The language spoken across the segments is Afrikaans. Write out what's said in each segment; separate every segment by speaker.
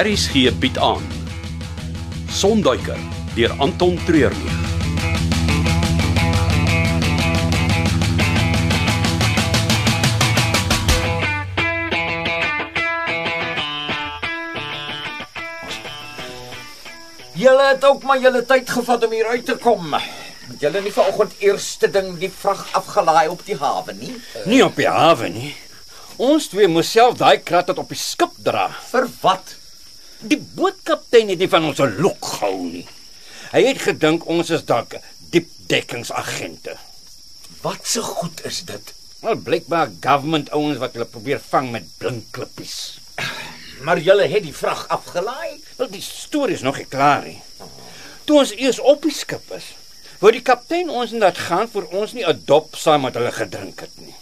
Speaker 1: Aries gee bied aan. Sonduiker deur Anton Treurnig.
Speaker 2: Julle het ook maar julle tyd gevat om hier uit te kom. Het julle nie vanoggend eerste ding die vrag afgelaai op die hawe nie?
Speaker 3: Nie op die hawe nie. Ons twee moes self daai krat tot op die skip dra.
Speaker 2: Vir wat?
Speaker 3: Die bootkaptein het nie van ons 'n lok gehou nie. Hy het gedink ons is dalk diepdekkingsagente.
Speaker 2: Wat se goed is dit?
Speaker 3: Maar blykbaar government ouens wat hulle probeer vang met blink klippies.
Speaker 2: Maar julle het die vrag afgelaai?
Speaker 3: Wel die storie is nog nie klaar nie. Toe ons eers op die skip is, wou die kaptein ons inderdaad gaan vir ons nie 'n dop saam met hulle gedrink het nie.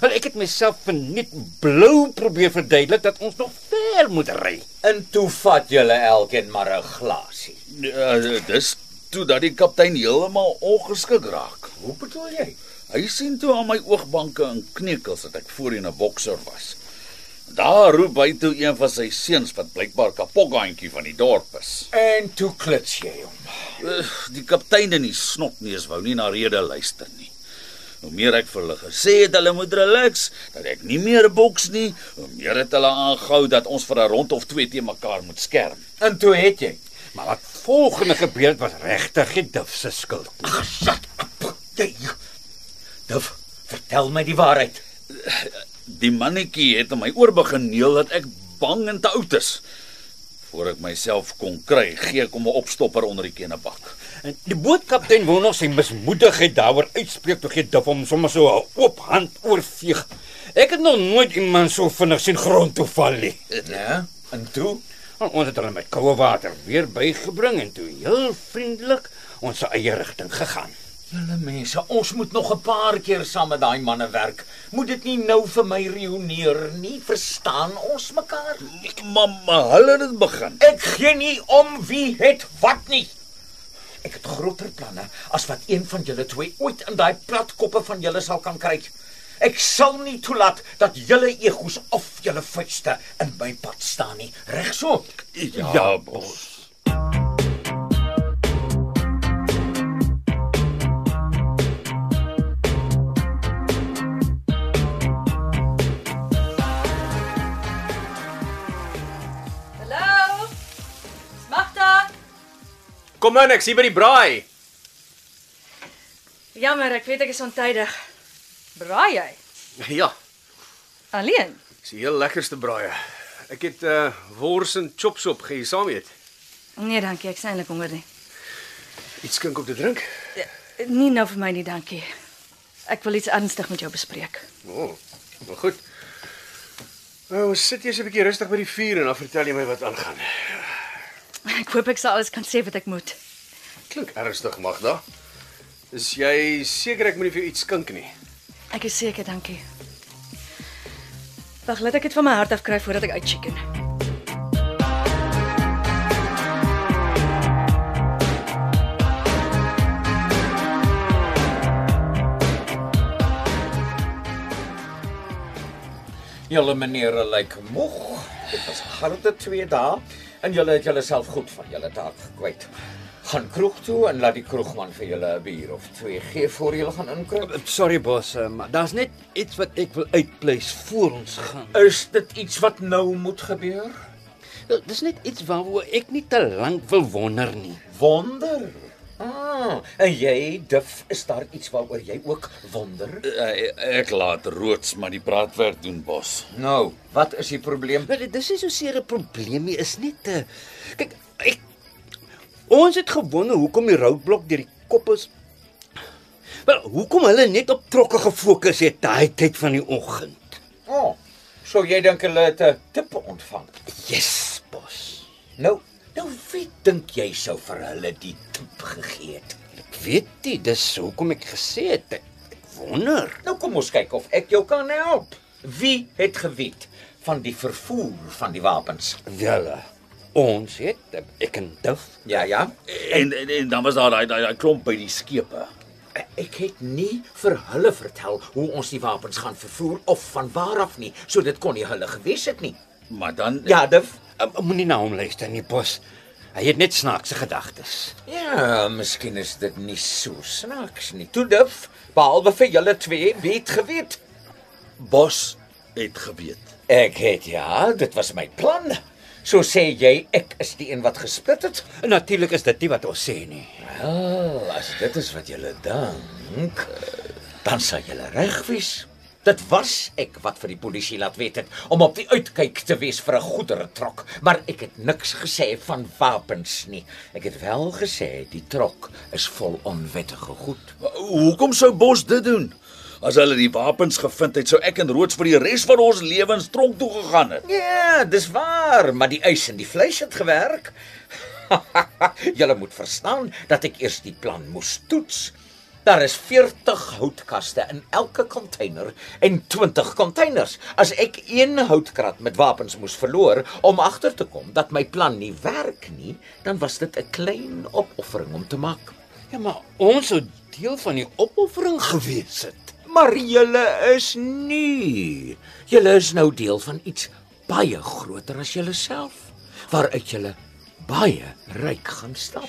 Speaker 3: Wel ek het myself verniet blou probeer verduidelik dat ons nog ver moet ry.
Speaker 2: En toe vat julle elkeen maar 'n glasie.
Speaker 4: Ja, dis toe dat die kaptein heeltemal ongeskik raak.
Speaker 2: Hoe bedoel jy?
Speaker 4: Hy sien toe aan my oogbanke en kneukels dat ek voorheen 'n bokser was. Daar roep hy toe een van sy seuns wat blykbaar kapokgaantjie van die dorp is.
Speaker 2: En toe klits jy hom.
Speaker 4: Ugh, Die kaptein en die snotneus wou nie na rede luister nie. Hoe meer ek vir hulle gesê het hulle moet relax, dat ek nie meer boks nie, hoe meer het hulle aangehou dat ons vir 'n rond of twee te mekaar moet skerm.
Speaker 2: En toe het jy.
Speaker 3: Maar wat volgende gebeur het was regtig Gedif se skuld.
Speaker 2: Jy. Duf, vertel my die waarheid.
Speaker 4: Die mannetjie het in my oor begin neel dat ek bang en te oud is. Voor ek myself kon kry, gee ek hom 'n opstopper onder die kennebak.
Speaker 3: En die bootkaptein wou nog sy mismoedigheid daaroor uitspreek toe Gedif hom sommer so 'n oop hand oorveeg. Ek het nog nooit iemand so vinnig sien grond toe val nie.
Speaker 2: Ja? En toe?
Speaker 3: En Ons het hulle met koue water weer bygebring en toe heel vriendelik ons eie rigting gegaan.
Speaker 2: Julle mense, ons moet nog 'n paar keer saam met daai manne werk. Moet dit nie nou vir my reuneer nie, verstaan ons mekaar?
Speaker 4: Mamma, hulle het dit begin.
Speaker 2: Ek gee nie om wie het wat nie. Ek het groter planne as wat een van julle twee ooit in daai platkoppe van julle sal kan kry. Ek sal nie toelaat dat julle egos of julle vuiste in my pad staan nie. Regso.
Speaker 4: Ja,
Speaker 3: bos.
Speaker 5: Hallo. Dis Magda.
Speaker 6: Kom in, ek's hier by die braai.
Speaker 5: Jammer, ek weet ek is ontydig. Braai jy
Speaker 6: Ja,
Speaker 5: alleen?
Speaker 6: dis die heel lekkerste braaie. Ek het uh wors en chops op gehê saam eet.
Speaker 5: Nee, dankie, ek is eintlik honger nie.
Speaker 6: Iets klink op te drink.
Speaker 5: Nie nou vir my nie, dankie. Ek wil iets ernstig met jou bespreek.
Speaker 6: O, oh, maar goed. Nou, ons sit eers 'n bietjie rustig by die vuur en dan vertel jy my wat aangaan.
Speaker 5: Ek hoop ek sal alles kan sê wat ek moet.
Speaker 6: Klink ernstig, Magda. Is jy seker ek moet nie vir jou iets skink nie?
Speaker 5: Ek is seker, dankie. Wag, laat ek dit van my hart af kry voordat ek uitchicken.
Speaker 2: Julle menere lyk moeg. Dit was 'n harde 2 dae en julle het julleself goed van julle taak gekwyt. Gaan kroeg toe en laat die kroegman vir julle 'n bier of twee gee voor julle gaan inkry.
Speaker 3: Sorry bos, eh, maar daar's net iets wat ek wil uitpleis voor ons gaan.
Speaker 2: Is dit iets wat nou moet gebeur?
Speaker 3: Wel, Eh, Dis net iets waaroor ek nie te lank wil wonder nie.
Speaker 2: Wonder. Ah, en jy, Duf, is daar iets waaroor jy ook wonder?
Speaker 4: Eh, ek laat roods maar die braadwerk doen, bos.
Speaker 2: Nou, wat is die probleem?
Speaker 3: Maar dit is nie so seer 'n probleem nie, is net 'n kyk ek ons het gewonder hoekom die roadblok deur die kop is. Wel, hoekom hulle net op trokke gefokus het daai tyd van die oggend.
Speaker 2: O, oh, so jy dink hulle het 'n tip ontvang.
Speaker 3: Yes, bos.
Speaker 2: Nou, nou wie dink jy sou vir hulle die tip gegee het?
Speaker 3: Ek weet nie, dis hoekom ek gesê het ek, ek wonder.
Speaker 2: Nou kom ons kyk of ek jou kan help. Wie het geweet van die vervoer van die wapens?
Speaker 3: Wel, eh, ons het eh, ek en Duff.
Speaker 2: Ja, ja.
Speaker 4: En en, en dan was daar daai daai daai klomp by die skepe.
Speaker 2: Ek het nie vir hulle vertel hoe ons die wapens gaan vervoer of van waar af nie, so dit kon nie hulle geweet het nie.
Speaker 4: Maar dan
Speaker 2: Ja, Duf,
Speaker 3: Uh, Moenie na hom luister nie, Bos. Hy het net snaakse gedagtes.
Speaker 2: Ja, miskien is dit nie so snaaks nie. Toe duf, behalwe vir julle twee, wie het geweet?
Speaker 4: Bos het geweet.
Speaker 2: Ek het ja, dit was my plan. So sê jy ek is die een wat gesplit het?
Speaker 3: En natuurlik is dit nie wat ons sê nie.
Speaker 2: Wel, as dit is wat julle dink, dan sal julle reg wees. Dit was ek wat vir die polisie laat weet het om op die uitkyk te wees vir 'n goedere trok, maar ek het niks gesê van wapens nie. Ek het wel gesê die trok is vol onwettige goed.
Speaker 4: Hoekom sou Bos dit doen? As hulle die wapens gevind het, sou ek en Roots vir die res van ons lewens tronk toe gegaan het.
Speaker 2: Ja, dis waar, maar die ys en die vleis het gewerk. Julle moet verstaan dat ek eers die plan moes toets. Daar is 40 houtkaste in elke container en 20 containers. As ek een houtkrat met wapens moes verloor om agter te kom dat my plan nie werk nie, dan was dit 'n klein opoffering om te maak.
Speaker 3: Ja, maar ons sou deel van die opoffering gewees het.
Speaker 2: Maar julle is nie. Julle is nou deel van iets baie groter as julleself, waaruit julle baie ryk gaan stap.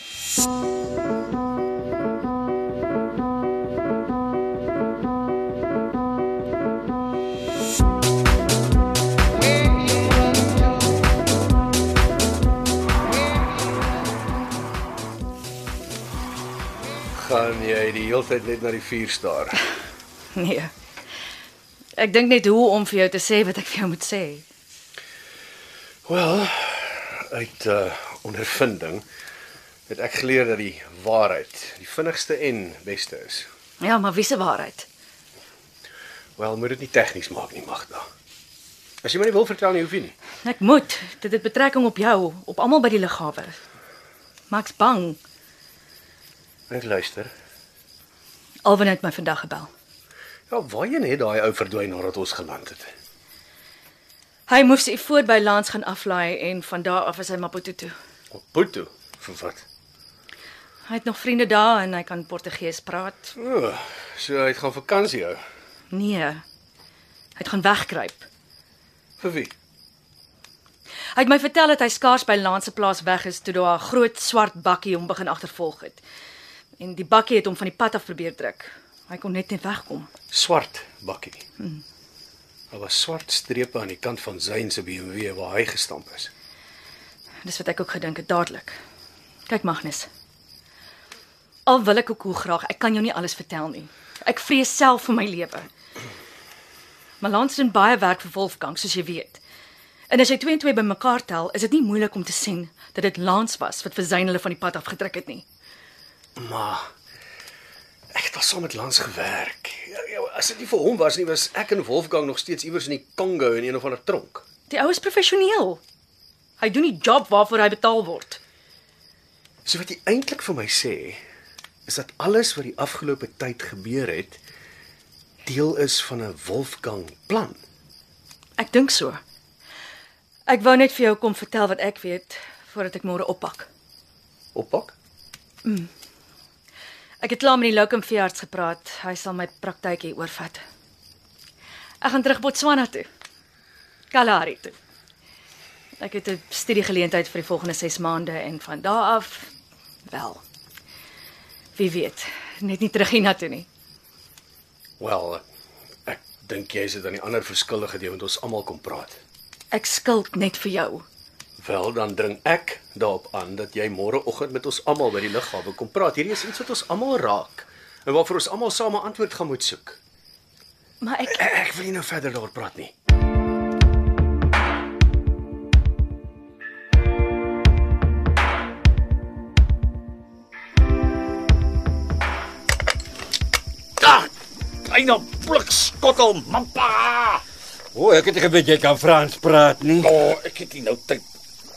Speaker 6: Gaan jy die hele tyd net na die vuur staar?
Speaker 5: Nee. Ek dink net hoe om vir jou te sê wat ek vir jou moet sê.
Speaker 6: Wel, uit uh ondervinding het ek geleer dat die waarheid die vinnigste en beste is.
Speaker 5: Ja, maar wie se waarheid?
Speaker 6: Wel, moet dit nie tegnies maak nie, Magda. As jy my nie wil vertel nie, hoef jy nie.
Speaker 5: Ek moet. Dit het betrekking op jou, op almal by die lughawe. Maak's bang.
Speaker 6: Net luister.
Speaker 5: Alwin het my vandag gebel.
Speaker 6: Ja, waarheen het daai ou verdwyn nadat ons geland het?
Speaker 5: Hy moes sy voor by Lance gaan aflaai en van daar af is hy Maputo toe.
Speaker 6: Op Boeto vir wat?
Speaker 5: Hy het nog vriende daar en hy kan Portugees praat.
Speaker 6: O, so hy het gaan vakansie hou.
Speaker 5: Nee. Hy het gaan wegkruip.
Speaker 6: Vir wie?
Speaker 5: Hy het my vertel dat hy skaars by Lance se plaas weg is toe daar 'n groot swart bakkie hom begin agtervolg het. En die bakkie het hom van die pad af probeer druk. Hy kon net nie wegkom.
Speaker 6: Swart bakkie. Hmm. Daar was swart strepe aan die kant van Zayn se BMW waar hy gestamp is.
Speaker 5: Dis wat ek ook gedink het dadelik. Kyk Magnus. Al wil ek ook hoe graag, ek kan jou nie alles vertel nie. Ek vrees self vir my lewe. Maar Lance doen baie werk vir Wolfgang, soos jy weet. En as jy 2 en 2 bymekaar tel, is dit nie moeilik om te sien dat dit Lance was wat vir Zayn hulle van die pad af gedruk het nie.
Speaker 6: Maar ek het al saam met Lans gewerk. Ja, ja, as dit nie vir hom was nie, was ek en Wolfgang nog steeds iewers in die Kongo in een of ander tronk.
Speaker 5: Die ou is professioneel. Hy doen die job waarvoor hy betaal word.
Speaker 6: So wat jy eintlik vir my sê, is dat alles wat die afgelope tyd gebeur het, deel is van 'n Wolfgang plan.
Speaker 5: Ek dink so. Ek wou net vir jou kom vertel wat ek weet voordat ek môre oppak.
Speaker 6: Oppak?
Speaker 5: Ek het klaar met die Lokum veearts gepraat. Hy sal my praktykie oorvat. Ek gaan terug Botswana toe. Kalahari toe. Ek het 'n studiegeleentheid vir die volgende 6 maande en van daar af wel. Wie weet, net nie terug hiernatoe nie.
Speaker 6: Wel, ek dink jy is dit aan die ander verskillig dat jy met ons almal kom praat.
Speaker 5: Ek skuld net vir jou.
Speaker 6: Wel, dan dring ek daarop aan dat jy môreoggend met ons almal by die lughawe kom praat. Hierdie is iets wat ons almal raak en waarvoor ons almal saam 'n antwoord gaan moet soek.
Speaker 5: Maar ek
Speaker 6: Ek, ek wil nie nou verder daaroor praat nie.
Speaker 4: Ah, Kleine blikskottel, mampa.
Speaker 3: O, ek het geweet jy kan Frans praat nie.
Speaker 4: O, oh, ek het nie nou tyd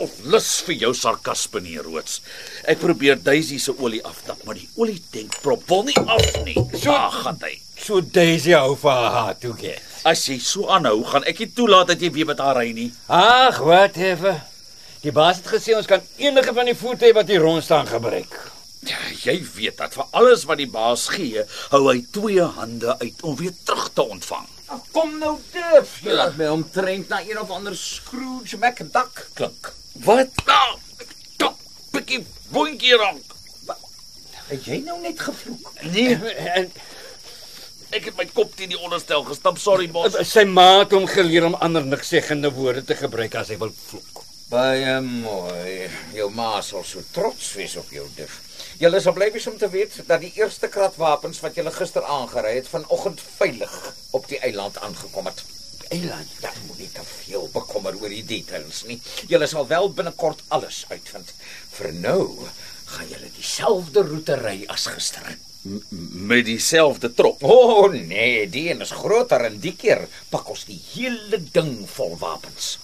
Speaker 4: of lus vir jou sarkasme nie, Roots. Ek probeer Daisy se olie aftap, maar die olietankprop wil nie af nie. So gaan hy.
Speaker 3: So Daisy hou vir haar hart toe gee.
Speaker 4: As jy so aanhou, gaan ek nie toelaat dat jy weer met haar ry nie.
Speaker 3: Ag, whatever. Die baas het gesê ons kan enige van die voertuie wat hier rond staan gebruik.
Speaker 4: Ja, jy weet dat vir alles wat die baas gee, hou hy twee hande uit om weer terug te ontvang.
Speaker 2: Kom nou duf, jy laat my omtrent na een of ander Scrooge McDuck klink.
Speaker 4: Wat? Nou, Top, bietjie boontjie rank.
Speaker 2: Het jy nou net gevloek?
Speaker 4: Nee,
Speaker 3: En
Speaker 4: ek het my kop teen die onderstel gestamp. Sorry, bos.
Speaker 3: sy ma het hom geleer om ander niks seggende woorde te gebruik as hy wil vloek.
Speaker 2: Baie mooi. Jou ma sal so trots wees op jou dif. Julle sal bly wees om te weet dat die eerste kratwapens wat julle gister aangery het, vanoggend veilig op die eiland aangekom het. Eiland, daar moet nie te veel bekommer oor die details nie. Julle sal wel binnekort alles uitvind. Vir nou gaan julle dieselfde roete ry as gister.
Speaker 4: Met dieselfde trok.
Speaker 2: O oh, nee, die een is groter en die keer pak ons die hele ding vol wapens.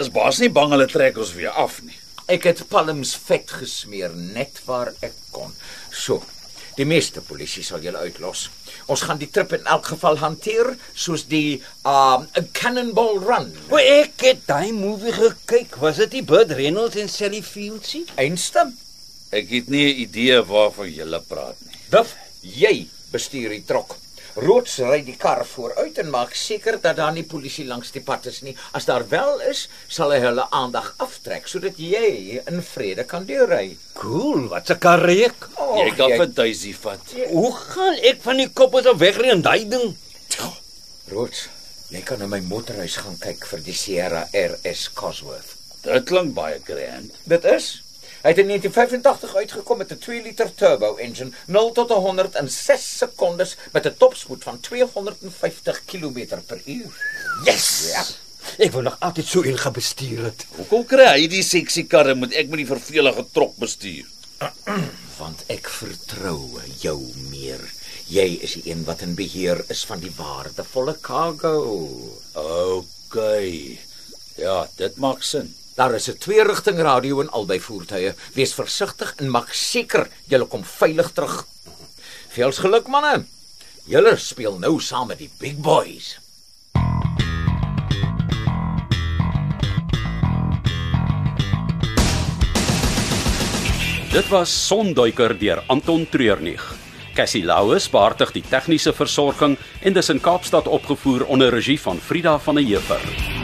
Speaker 4: Is baas nie bang hulle trek ons weer af nie.
Speaker 2: Ek het palms vet gesmeer net waar ek kon. So. Die meeste polisie sal julle uitlos. Ons gaan die trip in elk geval hanteer soos die um 'n cannonball run.
Speaker 3: O, ek het daai movie gekyk. Was dit nie Burt Reynolds en Sally Fields nie?
Speaker 2: Einstem.
Speaker 4: Ek het nie 'n idee waarvan julle praat nie.
Speaker 2: Duf, jy bestuur die trok. Roods ry die kar vooruit en maak seker dat daar nie polisie langs die pad is nie. As daar wel is, sal hy hulle aandag aftrek sodat jy in vrede kan deurry.
Speaker 3: Cool, wat 'n karreek.
Speaker 2: Oh,
Speaker 4: Jy kan vir Daisy vat.
Speaker 3: Hoe gaan ek van die kop af wegry in daai ding?
Speaker 2: Roods, jy kan in my motorhuis gaan kyk vir die Sierra RS Cosworth.
Speaker 4: Dit klink baie grand.
Speaker 2: Dit is. Hy het in 1985 uitgekom met 'n 2 liter turbo engine, 0 tot 100 in 6 sekondes met 'n topspoed van 250 km/h.
Speaker 3: Yes. Ja. Ek wou nog altyd so een gaan bestuur het.
Speaker 4: Hoekom kry hy die seksie karre moet ek met die vervelige trok bestuur?
Speaker 2: Want ek vertrou jou meer. Jy is die een wat in beheer is van die waardevolle cargo.
Speaker 4: OK. Ja, dit maak sin.
Speaker 2: Daar is 'n twee-rigting radio in albei voertuie. Wees versigtig en maak seker jy kom veilig terug. Veels geluk manne. Julle speel nou saam met die big boys.
Speaker 1: Dit was Sonduiker deur Anton Treurnig. Cassie Louws beheerdig die tegniese versorging en dis in Kaapstad opgevoer onder regie van Frida van der Heever.